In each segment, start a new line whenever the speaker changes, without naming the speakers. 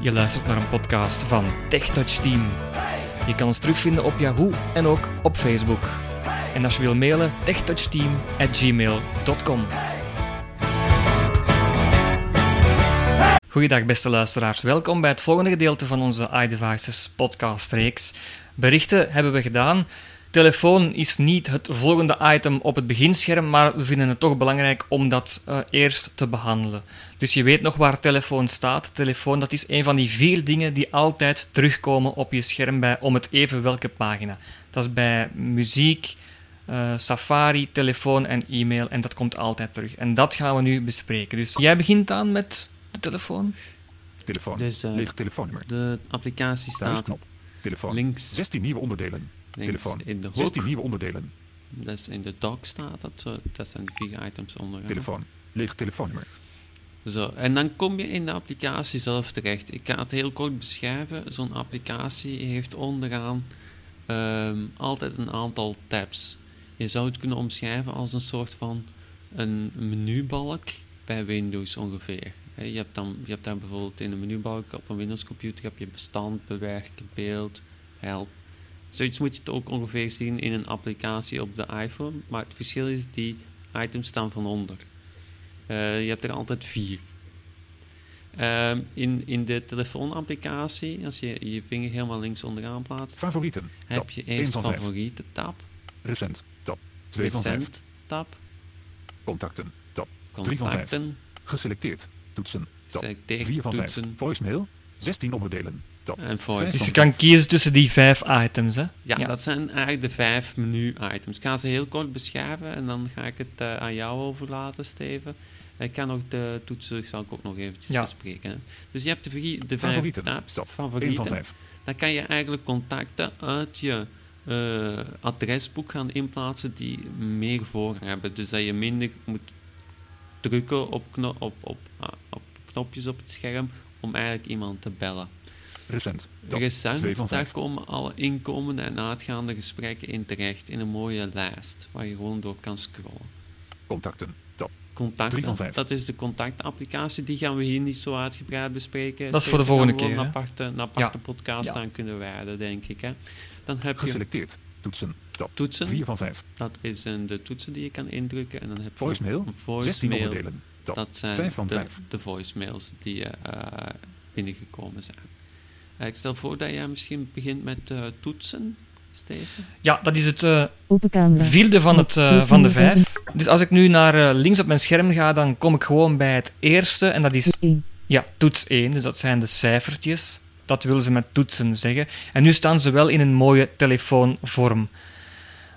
Je luistert naar een podcast van TechTouch Team. Je kan ons terugvinden op Yahoo en ook op Facebook. En als je wil mailen, techtouchteam.gmail.com Goeiedag beste luisteraars, welkom bij het volgende gedeelte van onze iDevices podcastreeks. Berichten hebben we gedaan. Telefoon is niet het volgende item op het beginscherm, maar we vinden het toch belangrijk om dat eh, eerst te behandelen. Dus je weet nog waar telefoon staat. Telefoon, dat is een van die vier dingen die altijd terugkomen op je scherm bij om het even welke pagina. Dat is bij muziek, eh, Safari, telefoon en e-mail en dat komt altijd terug. En dat gaan we nu bespreken. Dus jij begint aan met de telefoon.
Telefoon.
Dus eh,
Leeg telefoonnummer.
de applicatie staat
Thuisknop. Telefoon.
links,
16 nieuwe onderdelen.
links
telefoon.
in de hoek.
16 nieuwe onderdelen.
Dus in de dock staat dat. Zo, dat zijn de vier items onderaan.
Telefoon. Leeg telefoonnummer.
Zo, en dan kom je in de applicatie zelf terecht. Ik ga het heel kort beschrijven. Zo'n applicatie heeft onderaan ehm, altijd een aantal tabs. Je zou het kunnen omschrijven als een soort van een menubalk bij Windows ongeveer. Hè, Je hebt, dan, je hebt daar bijvoorbeeld in een menubalk op een Windows computer heb je bestand, bewerken, beeld, help. Zoiets moet je het ook ongeveer zien in een applicatie op de iPhone. Maar het verschil is, die items staan van onder. Eh, je hebt er altijd vier. Ehm, in, in de telefoonapplicatie, als je je vinger helemaal links onderaan plaatst,
Favorieten. Tab.
heb je
één
eerst
van vijf.
favoriete tab,
Recent. Tab. 2 van 5.
recent tab,
Contacten. Tab. Drie van vijf.
contacten,
Geselecteerd. Toetsen. Tab.
selecteer,
4 van 5.
toetsen
Voicemail. 16 onderdelen. Tab.
en voice.
Dus je
Soms
kan
wel.
kiezen tussen die vijf items, hè?
Ja,
Ja.
dat zijn eigenlijk de vijf menu-items. Ik ga ze heel kort beschrijven en dan ga ik het eh, aan jou overlaten, Steven. Ik kan ook de toetsen, zal ik ook nog eventjes
Ja.
bespreken. hè. Dus je hebt de, vrie- de vijf
Favorieten.
tabs,
Tab. 1 van
favorieten.
5.
Dan kan je eigenlijk contacten uit je eh, adresboek gaan inplaatsen die meer voor hebben. Dus dat je minder moet drukken op, kno- op, op, ah, op knopjes op het scherm om eigenlijk iemand te bellen.
Recent. Tab. twee van
Recent, daar
vijf.
komen alle inkomende en uitgaande gesprekken in terecht in een mooie lijst waar je gewoon door kan scrollen.
Contacten. Tab. Drie van
Contacten,
vijf.
dat is de contactapplicatie, die gaan we hier niet zo uitgebreid bespreken.
Dat is voor de
Zeker,
volgende
daar gaan we
keer,
Een aparte, een aparte podcast
Ja.
aan kunnen wijden, denk ik. Hè. Dan heb je
Geselecteerd. Toetsen. Tab.
toetsen.
4 van 5.
Dat is een, de toetsen die je kan indrukken. En dan heb je
Voicemail.
een
16
voicemail.
onderdelen. Tab.
Dat zijn
Vijf van
de,
vijf.
de voicemails die eh, binnengekomen zijn. Eh, ik stel voor dat jij misschien begint met eh, toetsen, Steven.
Ja, dat is het eh,
Open camera.
vierde van, het, eh, van de vijf. Dus als ik nu naar eh, links op mijn scherm ga, dan kom ik gewoon bij het eerste. En dat is
Eén.
ja, toets 1. Dus dat zijn de cijfertjes. Dat willen ze met toetsen zeggen. En nu staan ze wel in een mooie telefoonvorm.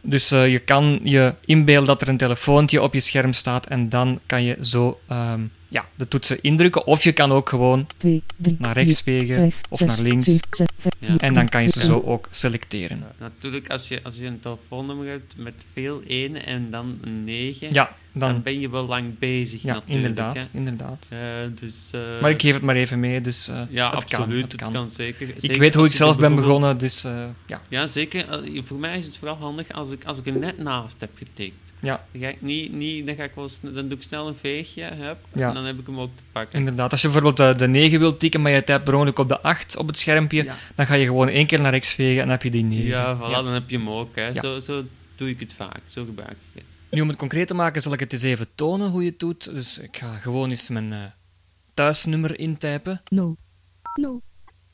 Dus eh, je kan je inbeelden dat er een telefoontje op je scherm staat. En dan kan je zo ehm, ja, de toetsen indrukken. Of je kan ook gewoon
Twee, drie,
naar rechts
vier,
vegen
vijf,
of
zes,
naar links.
zeven, zes, vijf,
Ja.
vier,
En dan kan je ze
drie,
zo ook selecteren.
Natuurlijk, als je, als je een telefoonnummer hebt met veel 1 en dan 9,
Ja,
dan,
dan,
ben je wel lang bezig
ja
natuurlijk. hè.
inderdaad, inderdaad.
Eh, dus, eh,
Maar ik geef het maar even mee, dus eh,
ja,
het kan,
absoluut.
het kan.
zeker.
Ik
Zeker
weet hoe
als
ik
je er
zelf ben
bijvoorbeeld-
begonnen, dus eh, ja.
Ja, zeker. Eh, Voor mij is het vooral handig als ik, als ik er net naast heb getikt.
Ja.
Dan, ga ik niet, niet, dan, ga ik wel sne- dan doe ik snel een veegje heb,
Ja.
en dan heb ik hem ook te pakken.
Inderdaad, als je bijvoorbeeld eh, de 9 wilt tikken, maar je typt per ongeluk op de 8 op het schermpje,
ja,
dan ga je gewoon één keer naar rechts vegen en dan heb je die 9.
ja, voilà, dan heb je hem ook. Hè.
Ja.
Zo, zo doe ik het vaak, zo gebruik ik het.
Nu, om het concreet te maken, zal ik het eens even tonen hoe je het doet. Dus ik ga gewoon eens mijn eh, thuisnummer intypen.
Nul. Nul.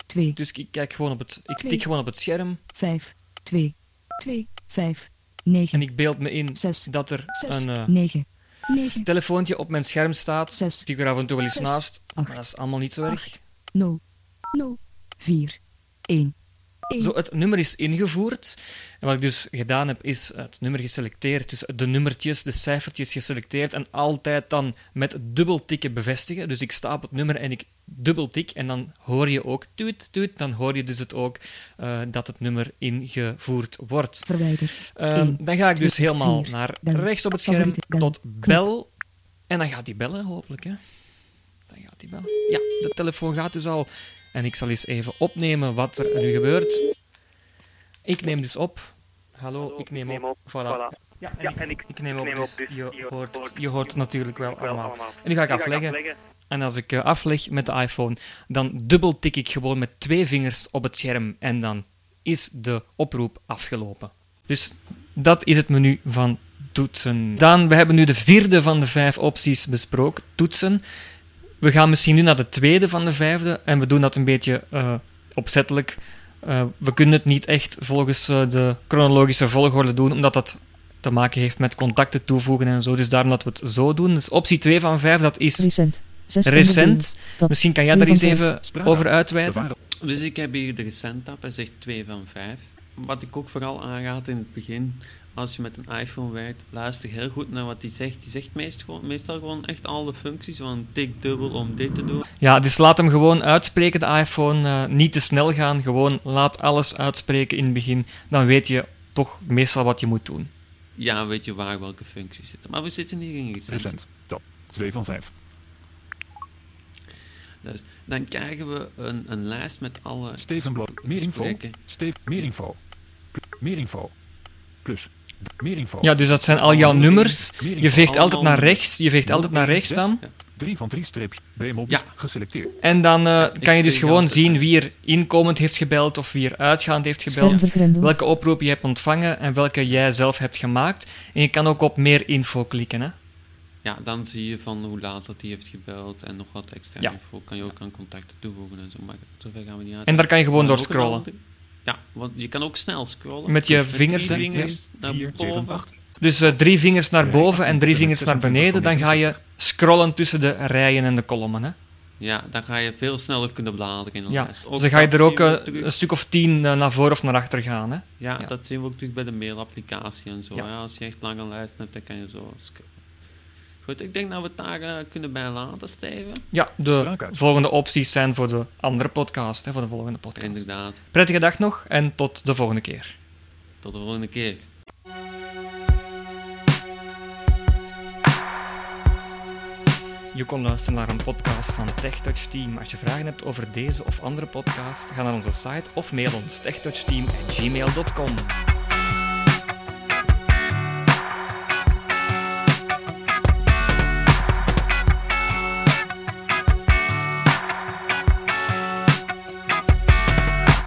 Twee,
Dus ik, kijk gewoon op het, ik tik
Twee.
gewoon op het scherm
vijf, twee, twee, vijf, negen,
en ik beeld me in
zes,
dat er
zes,
een eh,
negen, negen,
telefoontje op mijn scherm staat.
zes,
Die ik er af en toe wel eens
Zes.
naast, maar
Acht.
dat is allemaal niet zo erg.
acht, nul, nul, vier, één, één.
Zo, het nummer is ingevoerd. En wat ik dus gedaan heb, is het nummer geselecteerd. Dus de nummertjes, de cijfertjes geselecteerd. En altijd dan met dubbeltikken bevestigen. Dus ik sta op het nummer en ik dubbeltik. En dan hoor je ook tuut, tuut. Dan hoor je dus het ook eh, dat het nummer ingevoerd wordt.
Verwijder.
Ehm,
Eén,
dan ga ik
twee,
dus helemaal
vier,
naar
bel.
rechts op het scherm
Favoriete, bel.
tot bel. En dan gaat die bellen, hopelijk. Hè? Dan gaat die bellen. Ja, de telefoon gaat dus al. En ik zal eens even opnemen wat er nu gebeurt. Ik neem dus op. Hallo, ik neem op. Voilà. Ja, dus en ik, ik neem op, dus je hoort, je hoort natuurlijk wel allemaal. En nu ga ik afleggen. En als ik eh, afleg met de iPhone, dan dubbeltik ik gewoon met twee vingers op het scherm en dan is de oproep afgelopen. Dus dat is het menu van toetsen. Dan, we hebben nu de vierde van de vijf opties besproken, toetsen. We gaan misschien nu naar de tweede van de vijfde en we doen dat een beetje eh, opzettelijk. Eh, we kunnen het niet echt volgens eh, de chronologische volgorde doen, omdat dat te maken heeft met contacten toevoegen en zo. Dus daarom dat we het zo doen. Dus optie 2 van 5, dat is
Recent. Zes onderdelen.
recent.
Dat
Misschien kan jij daar
twee
eens
van
even
Spraak.
over uitweiden.
Bewaren.
Dus ik heb hier de recent tab, hij zegt 2 van 5. Wat ik ook vooral aanraad in het begin, als je met een iPhone werkt, luister heel goed naar wat hij zegt. Die zegt meest gewoon, meestal gewoon echt alle functies, van tik dubbel om dit te doen.
Ja, dus laat hem gewoon uitspreken, de iPhone. eh, niet te snel gaan, gewoon laat alles uitspreken in het begin. Dan weet je toch meestal wat je moet doen.
Ja, weet je waar welke functies zitten. Maar we zitten hier in recent.
Recent. Top. 2 van 5.
Dus dan krijgen we een, een lijst met alle
Steven Blok. Meer info.
gesprekken.
Steef. Meer info. Pl- Meer info. Plus. Meer info.
Ja, dus dat zijn al jouw nummers.
Meer
Je
info.
veegt altijd
Allemaal
naar rechts. Je veegt altijd naar rechts dan.
3 van 3 streepje. Bmobs.
Ja.
Geselecteerd.
En dan eh, kan je
ik
dus
veeg
gewoon
altijd
zien
naar-
wie er inkomend heeft gebeld of wie er uitgaand heeft gebeld.
Schermvergrendeld.
Welke oproep je hebt ontvangen en welke jij zelf hebt gemaakt. En je kan ook op meer info klikken. Hè?
Ja, dan zie je van hoe laat dat hij heeft gebeld en nog wat extra
Ja.
info. Kan je ook aan contacten toevoegen en zo, maar zover gaan we niet uit.
En daar kan je gewoon door
Maar ook een
scrollen.
andere- Ja, want je kan ook snel scrollen.
Met je
Dus drie
vingers, hè?
vingers naar
4, 7,
boven.
8.
Dus eh, drie vingers naar
Nee,
boven en drie
28,
vingers naar
26,
beneden. Dan ga je scrollen tussen de rijen en de kolommen. Hè?
Ja, dan ga je veel sneller kunnen bladeren in de
Ja.
lijst.
Dus dan ga je
dat
er ook
zien we
eh,
terug-
een stuk of tien eh, naar voor of naar achter gaan. Hè?
ja,
ja.
dat zien we ook terug bij de mailapplicatie en zo.
Ja.
Ja, als je echt lange lijsten hebt, dan kan je zo scrollen. Goed, ik denk dat we het daar eh, kunnen bij laten, Steven.
Ja, de
Spraak uit.
volgende opties zijn voor de andere podcast. Hè, voor de volgende podcast.
Inderdaad.
Prettige dag nog en tot de volgende keer.
Tot de volgende keer.
Je kon luisteren naar een podcast van TechTouch Team. Als je vragen hebt over deze of andere podcast, ga naar onze site of mail ons techtouchteam@gmail.com.